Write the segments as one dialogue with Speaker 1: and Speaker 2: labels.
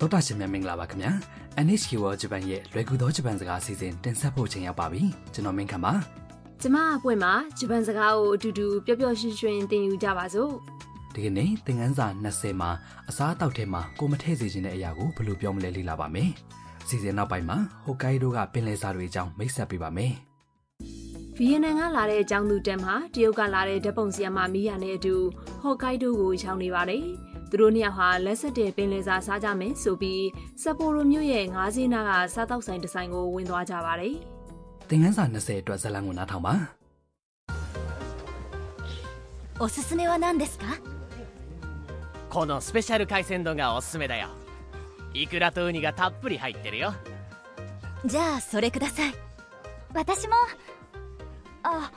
Speaker 1: တောတာရှင်များမင်္ဂလာပါခင်ဗျာ NHK World Japan ရဲ့လွယ်ကူသောဂျပန်စကားအစီအစဉ်တင်ဆက်ဖို့ချိန်ရောက်ပါပြီကျွန်တော်မင်းခမ်းပါ
Speaker 2: ကျမအပွင့်မှာဂျပန်စကားကိုအတူတူပျော်ပျော်ရွှင်ရွှင်သင်ယူကြပါစို့
Speaker 1: ဒီကနေ့သင်ခန်းစာ20မှာအစားအသောက်ထဲမှာကိုမထည့်စေချင်တဲ့အရာကိုဘယ်လိုပြောမလဲလေ့လာပါမယ်အစီအစဉ်နောက်ပိုင်းမှာဟိုကိုကိုဒိုကပင်လယ်စာတွေအကြောင်းမိတ်ဆက်ပေးပါမယ်
Speaker 2: ဗီယက်နမ်ကလာတဲ့အကြောင်းသူတက်မှာတရုတ်ကလာတဲ့ဓာတ်ပုံဆရာမမီယာနဲ့အတူဟော့ကိုက်ဒိုကိုရောက်နေပါတယ်သူတို့နှစ်ယောက်ဟာလက်ဆက်တဲ့ပင်လယ်စာစားကြမယ်ဆိုပြီးဆပ်ပိုရိုမြို့ရဲ့ငါးစင်းနာကစားတောက်ဆိုင်တစ်ဆိုင်ကိုဝင်သွားကြပါတယ်
Speaker 1: သင်ခန်းစာ20အတွက်ဇာတ်လမ်းကိုနားထောင်ပါ
Speaker 3: おすすめは何ですか
Speaker 4: このスペシャル海鮮丼がおすすめだよイクラとウニがたっぷり入ってるよ
Speaker 3: じゃあそれください私もあ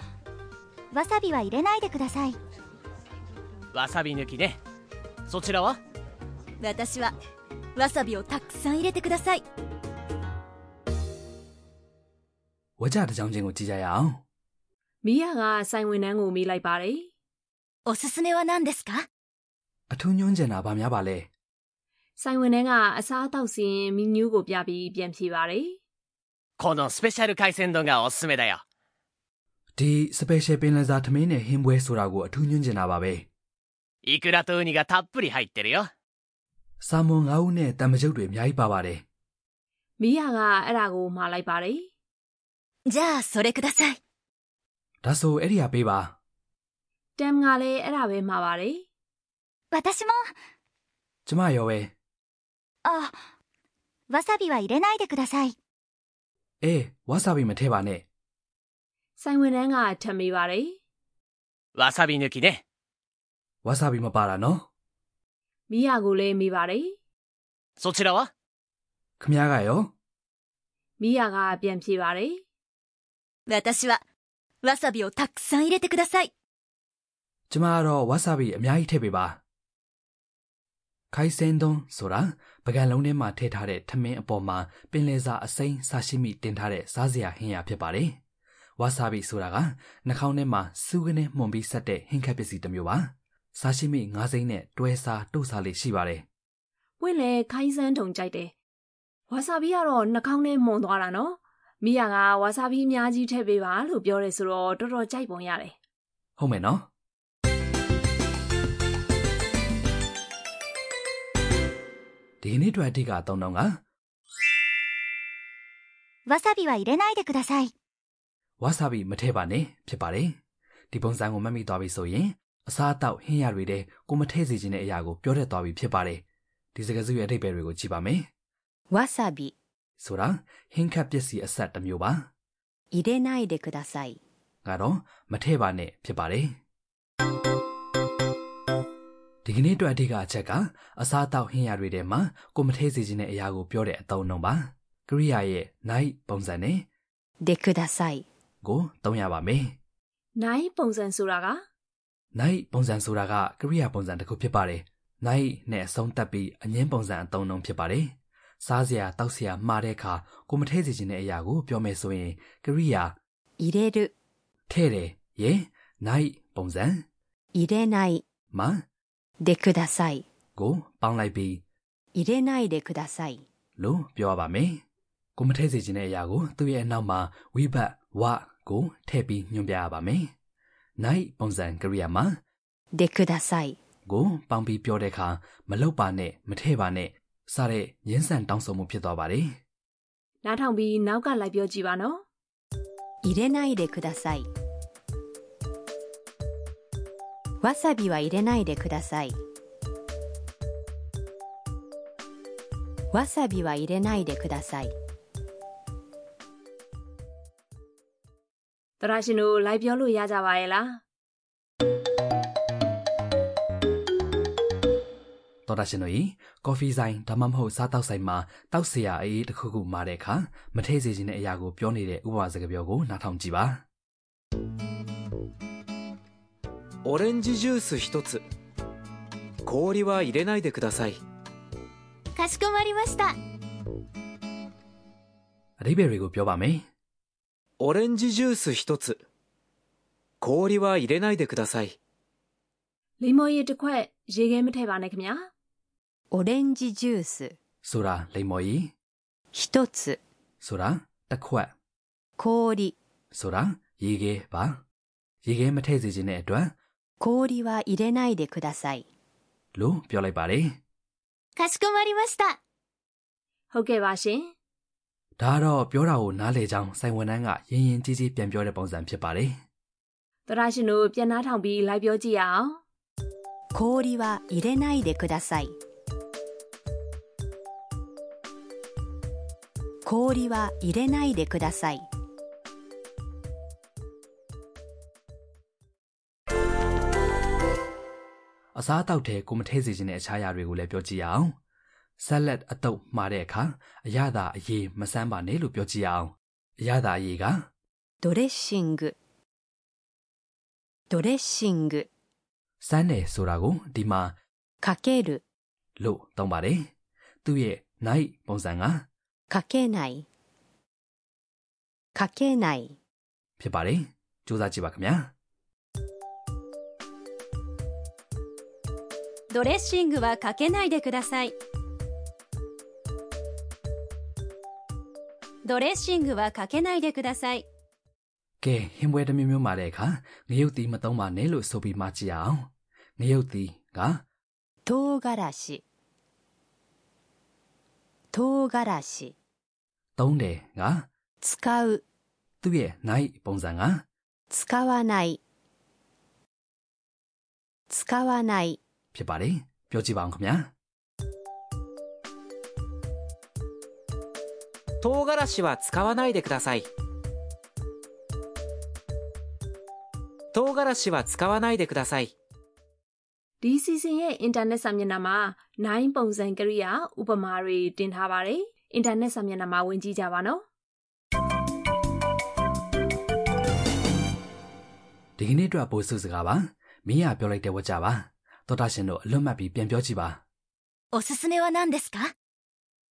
Speaker 3: わさびは入れないでください
Speaker 4: わさび抜きねそちらは
Speaker 3: 私はわさびをたくさん入れてください
Speaker 1: ဝါကြတစ်ကြောင်းချင်းကိုကြည့်ကြရအောင်
Speaker 2: မီယာကဆိုင်ဝင်နှန်းကိုမေးလိုက်ပါတယ်
Speaker 3: おすすめは何ですか
Speaker 1: အထူးညွှန်းချင်တာဗာများပါလဲ
Speaker 2: ဆိုင်ဝင်နှန်းကအစားအသောက်စီရင်မီနူးကိုပြပြီးပြန်ဖြေပါတယ်
Speaker 4: このスペシャル海鮮丼がおすすめだよ
Speaker 1: ဒီ special ပင်လယ်စာထမင်းနဲ့ဟင်းပွဲဆိုတာကိုအထူးညွှန်းချင်တာပါပဲ
Speaker 4: イクラとウニがたっぷり入ってるよ
Speaker 1: ဆာမွန်9ဦးနဲ့တံမကြုတ်တွေအများကြီးပါပါတယ်
Speaker 2: မီယာကအဲ့ဒါကိုမှားလိုက်ပါတယ်
Speaker 3: じゃあそれください
Speaker 1: ဒါဆိုအဲ့ဒီဟာပေးပါ
Speaker 2: တမ်ကလည်းအဲ့ဒါပဲမှားပါတယ်
Speaker 3: 私も
Speaker 1: ကျမရောပဲ
Speaker 3: あわさびは入れないでください
Speaker 1: အေးဝါဆာဘီမထည့်ပါနဲ့
Speaker 2: ဆိုင်ဝင်နှန်းကထပ်မေးပါတယ်
Speaker 4: わさび抜きね
Speaker 1: ဝါဆာဘီမပါတာနော်
Speaker 2: မိယာကိုလည်းမိပါတယ်
Speaker 4: そちらは
Speaker 1: ခမ ्या ကရော
Speaker 2: မိယာကပြန်ဖြေပါတယ်
Speaker 3: 私はわさびをたくさん入れてください
Speaker 1: ကျမကတော့ဝါဆာဘီအများကြီးထည့်ပေးပါခိုင်စင်ဒွန်ဆိုတာပကံလုံးထဲမှာထည့်ထားတဲ့ထမင်းအပေါ်မှာပင်လယ်စာအစိမ်းဆာရှိမိတင်ထားတဲ့စားစရာဟင်းရဖြစ်ပါတယ်ဝါဆာဘီဆိုတာကနှာခေါင်းထဲမှာစူးကနေမှုန်ပြီးဆက်တဲ့ဟင်းခက်ပစ္စည်းတစ်မျိုးပါဆာရှိမိငါးစိမ်းနဲ့တွဲစားတုပ်စားလေးရှိပါတယ်
Speaker 2: ပွင့်လည်းခိုင်းစန်းထုံကြိုက်တယ်ဝါဆာဘီကတော့နှာခေါင်းထဲမှုန်သွားတာနော်မိယာကဝါဆာဘီအများကြီးထည့်ပေးပါလို့ပြောတယ်ဆိုတော့တော်တော်ကြိုက်ပုံရတယ်
Speaker 1: ဟုတ်မယ်နော်ဒီကနေ့အတွက်အဓိကအသုံးတော့က
Speaker 3: わさびは入れないでください
Speaker 1: ဝါဆာဘီမထည့်ပါနဲ့ဖြစ်ပါတယ်ဒီပုံစံကိုမှတ်မိသွားပြီဆိုရင်အစားအသောက်ဟင်းရတွေတဲ့ကိုမထည့်စေချင်တဲ့အရာကိုပြောတတ်သွားပြီဖြစ်ပါတယ်ဒီစကားစုရဲ့အဓိပ္ပာယ်တွေကိုကြည့်ပါမယ်
Speaker 3: わさび
Speaker 1: ဆိုတာဟင်းခတ်ပစ္စည်းအဆက်တစ်မျိုးပါ
Speaker 3: 入れないでください
Speaker 1: ကတော့မထည့်ပါနဲ့ဖြစ်ပါတယ်ဒီကနေ့အတွက်အဓိကအချက်ကအစားအသောက်ဟင်းရတွေထဲမှာကိုမထည့်စေချင်တဲ့အရာကိုပြောတဲ့အသုံးအနှုန်းပါကရိယာရဲ့ night ပုံစံနဲ့
Speaker 3: でください
Speaker 1: ကိုသုံးရပါမယ်
Speaker 2: နိုင်ပုံစံဆိုတာက
Speaker 1: night ပုံစံဆိုတာကကရိယာပုံစံတစ်ခုဖြစ်ပါတယ် night နဲ့အဆုံးသတ်ပြီးအငင်းပုံစံအသုံးအနှုန်းဖြစ်ပါတယ်စားစရာတောက်စရာမှားတဲ့အခါကိုမထည့်စီခြင်းတဲ့အရာကိုပြောမယ်ဆိုရင်ကရိယာ
Speaker 3: 入れる
Speaker 1: ထည့်တယ်ရေ night ပုံစံ
Speaker 3: 入れない
Speaker 1: မှာ
Speaker 3: でください
Speaker 1: ကိုပေါင်းလိုက်ပြီး
Speaker 3: 入れないでください
Speaker 1: လို့ပြောရပါမယ်ကိုမထည့်စီခြင်းတဲ့အရာကိုသူ့ရဲ့အနောက်မှာဝိဘတ်ဝကိုထည့်ပြီးညွှန်ပြရပါမယ် night ပုံစံကရိယာမှာ
Speaker 3: でください
Speaker 1: ကိုပေါင်ပြီးပြောတဲ့အခါမလောက်ပါနဲ့မထဲ့ပါနဲ့စတဲ့ရင်းဆန်တောင်းဆိုမှုဖြစ်သွားပါတယ်
Speaker 2: နားထောင်ပြီးနောက်ကလိုက်ပြောကြည့်ပါနော်
Speaker 3: 入れないでくださいわさびは入れないでくださいわさびは入れないでください
Speaker 2: သရရှင်တို့လိုက်ပြောလို့ရကြပါရဲ့လား
Speaker 1: ။တော်တာရှင်တို့ဤကော်ဖီဆိုင်ဒါမှမဟုတ်စားတောက်ဆိုင်မှာတောက်စရာအေးတစ်ခုခုမာတဲ့အခါမထဲ့စေခြင်းတဲ့အရာကိုပြောနေတဲ့ဥပမာစကားပြောကိုနားထောင်ကြည့်ပါ
Speaker 5: オレンジジュース一つ氷は入れないでください
Speaker 3: かしこまりました
Speaker 1: ။အဓိပ္ပာယ်တွေကိုပြောပါမယ်
Speaker 5: オレンジジュース一つ氷は入れないでください
Speaker 2: လိမ္မော်ရည်တစ်ခွက်ရေခဲမထည့်ပါနဲ့ခင်ဗျာ
Speaker 3: オレンジジュース
Speaker 1: ဆိုတာလိမ္မော်ကြီး
Speaker 6: 一つ、
Speaker 1: ဆိုတာတစ်ခွက်
Speaker 6: 氷。
Speaker 1: ဆိုတာရေခဲပါရေခဲမထည့်စေခြင်းတဲ့အတွက်
Speaker 6: 氷は入れないでください。
Speaker 1: လို့ပြောလိုက်ပါတယ်
Speaker 3: かしこまりました。
Speaker 2: ဟုတ်ကဲ့ပါရှင်
Speaker 1: ဒါကတော့ပြောတာကိုနားလေကြောင်းစိုင်ဝန်တန်းကရင်ရင်ကြီးကြီးပြန်ပြောတဲ့ပုံစံဖြစ်ပါတယ်
Speaker 2: သရရှင်တို့ပြန်နှားထောင်ပြီးလိုက်ပြောကြည့်ရအောင်
Speaker 6: 氷は入れないでください。氷は入れないでください。
Speaker 1: အစားအသောက်ထဲကိုမထည့်စေခြင်းတဲ့အခြားအရာတွေကိုလည်းပြောကြည့်ရအောင်ဆလတ်အတုပ်မှာတဲ့အခါအရသာအရေးမဆန်းပါနဲ့လို့ပြောကြည့်ရအောင်အရသာအရေးက
Speaker 6: ドレッシング。ドレッシング。
Speaker 1: စမ်းတယ်ဆိုတာကိုဒီမှာ
Speaker 6: かける。
Speaker 1: လို့သုံးပါတယ်သူ့ရဲ့ night ပုံစံက
Speaker 6: かけない。かけない。
Speaker 1: ဖြစ်ပါတယ်စူးစမ်းကြည့်ပါခင်ဗျာ
Speaker 3: ドレッシングはかけないでください。ドレッシングはかけないでください。
Speaker 1: ကဲဟင်းပွဲတစ်မျိုးမျိုးမှာတဲ့အခါငရုတ်သီးမသုံးပါနဲ့လို့ဆိုပြီးမှကြည့်ရအောင်ငရုတ်သီးက
Speaker 6: 唐辛子。唐辛子。
Speaker 1: သုံးတယ်က
Speaker 6: 使う。
Speaker 1: သူ့ရဲ့ night ပုံစံက
Speaker 6: 使わない。使わない。
Speaker 1: ဖြစ်ပါတယ်ပြောကြည့်ပါအောင်ခင်ဗျာ
Speaker 5: 唐辛子は使わないでください唐辛子は使わないでください
Speaker 2: ဒီ season ရဲ့ internet စာမျက်နှာမှာ9ပုံစံကရိယာဥပမာတွေတင်ထားပါတယ်။ internet စာမျက်နှာမှာဝင်ကြည့်ကြပါနော်
Speaker 1: ဒီကနေ့အတွက်ပို့စုစကားပါမင်းကပြောလိုက်တဲ့ဝါကြပါသောတာရှင်တို့အလွတ်မှတ်ပြီးပြန်ပြောကြည့်ပါ
Speaker 3: おすすめは何ですか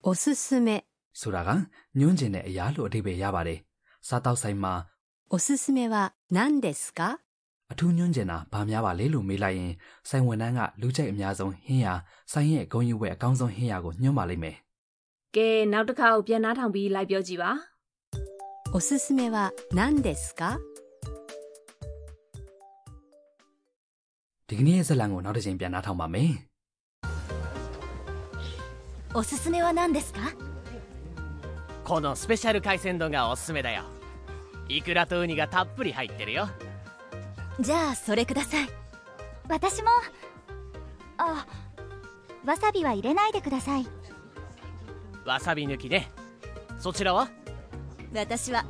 Speaker 6: おすすめ。
Speaker 1: ဆိုတာကညွှန်းကျင်တဲ့အရာလို့အဓိပ္ပာယ်ရပါတယ်စားတောက်ဆိုင်မှာ
Speaker 6: おすすめは何ですか
Speaker 1: အထူးညွှန်းကျင်တာဘာများပါလဲလို့မေးလိုက်ရင်ဆိုင်ဝန်တန်းကလူကြိုက်အများဆုံးဟင်းရဆိုင်ရဲ့ဂုံယူဝဲအကောင်းဆုံးဟင်းရကိုညွှန်းပါလိမ့်မယ်
Speaker 2: ။ကဲနောက်တစ်ခါက်ပြန်နှားထောင်ပြီးလိုက်ပြောကြည့်ပါ
Speaker 6: おすすめは何ですか
Speaker 1: ဒီကနေ့ရဲ့ဇာတ်လမ်းကိုနောက်တစ်ချိန်ပြန်နှားထောင်ပါမယ်
Speaker 3: おすすめは何ですか
Speaker 4: このスペシャル海鮮丼がおすすめだよイクラとウニがたっぷり入ってるよ
Speaker 3: じゃあそれください。私も。あ、わさびは入れないでください。
Speaker 4: わさび抜きねそちらは
Speaker 3: 私は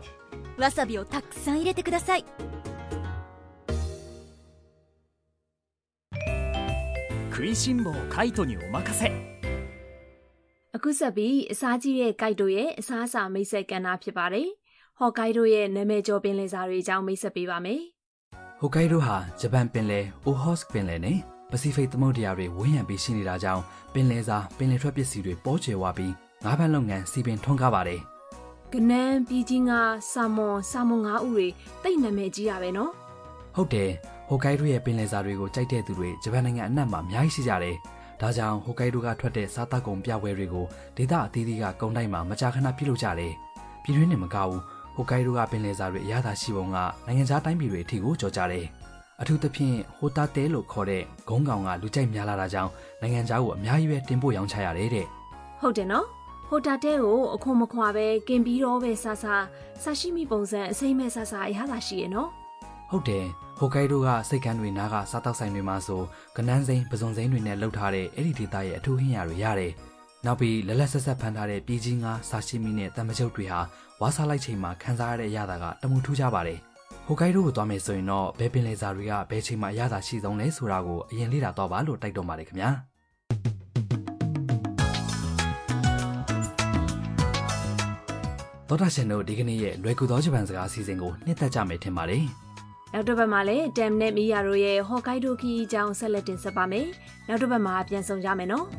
Speaker 3: わさびをたくさん入れてください。
Speaker 7: 食いしん坊カイトにお任せ
Speaker 2: ။အခုဆက်ပြီးအစားကြီးတဲ့ guide တို့ရဲ့အစားအစာမိတ်ဆက်ကဏ္ဍဖြစ်ပါတယ်။ Hokkaido တို့ရဲ့နာမည်ကျော်ပင်လယ်စာတွေအကြောင်းမိတ်ဆက်ပေးပါမယ်
Speaker 1: ဟိုကိုက်ဒိုဟာဂျပန်ပင်လယ်အိုဟော့စ်ပင်လယ်နဲ့ပစိဖိတ်သမုဒ္ဒရာတွေဝန်းရံပြီးရှိနေတာကြောင့်ပင်လယ်စာပင်လယ်ထွက်ပစ္စည်းတွေပေါ်ကျယ်ဝပြီးငါးဖမ်းလုပ်ငန်းစီပင်ထွန်းကားပါတယ်
Speaker 2: ။ကနန်းပြည်ကြီးငါဆာမွန်ဆာမွန်ငါဥတွေတိတ်နာမည်ကြီးရပဲနော်
Speaker 1: ဟုတ်တယ်ဟိုကိုက်ဒိုရဲ့ပင်လယ်စာတွေကိုကြိုက်တဲ့သူတွေဂျပန်နိုင်ငံအနှံ့မှာအများကြီးရှိကြတယ်ဒါကြောင့်ဟိုကိုက်ဒိုကထွက်တဲ့စားသောက်ကုန်ပြပွဲတွေကိုဒေသအသီးသီးကကုန်တိုင်းမှာမကြာခဏပြုလုပ်ကြတယ်ပြည်တွင်းနဲ့မကဘူးဟိုကိုက်ဒိုကပင်လယ်စာတွေအရသာရှိပုံကနိုင်ငံခြားတိုင်းပြည်တွေအထိကိုကျော်ကြတယ်အထူးသဖြင့်ဟိုတာတဲလို့ခေါ်တဲ့ဂုံးကောင်ကလူကြိုက်များလာတာကြောင့်နိုင်ငံခြားကိုအများကြီးပဲတင်ပို့ရောင်းချရတယ်တဲ့
Speaker 2: ။ဟုတ်တယ်နော်။ဟိုတာတဲကိုအခွန်မခွာပဲกินပြီးတော့ပဲဆာဆာဆာရှိမိပုံစံအစိမ့်မဲ့ဆာဆာအရသာရှိရနော်။
Speaker 1: ဟုတ်တယ်ဟိုကိုက်ဒိုကစိတ်ကမ်းတွေနားကစားတောက်ဆိုင်တွေမှာဆိုကနန်းစိမ်းပဇွန်စိမ်းတွေနဲ့လုပ်ထားတဲ့အဲ့ဒီဒေသရဲ့အထူးဟင်းရတွေရတယ်။နောက်ပြီးလက်လက်ဆက်ဆက်ဖန်ထားတဲ့ပြည်ကြီးငါဆာရှိမီနဲ့တမ်မကျုပ်တွေဟာဝါစားလိုက်ချိန်မှာခံစားရတဲ့အရသာကတမူထူးကြပါတယ်။ဟိုကိုက်ဒိုကိုသွားမယ်ဆိုရင်တော့ဘယ်ပင်လယ်စာတွေကဘယ်ချိန်မှာအရသာရှိဆုံးလဲဆိုတာကိုအရင်လေ့လာတော့ပါလို့တိုက်တော့ပါတယ်ခင်ဗျာ။သောတာရှင်တို့ဒီကနေ့ရဲ့လွယ်ကူသောဂျပန်စကားအစီအစဉ်ကိုနှစ်သက်ကြမယ်ထင်ပါတယ်။
Speaker 2: နောက်တစ်ပတ်မှာလည်း Dam နဲ့ Miya တို့ရဲ့ Hokkaido ခီးအကြောင်းဆက်လက်တင်ဆက်ပါမယ်။နောက်တစ်ပတ်မှာပြန်ဆောင်ကြမယ်နော်။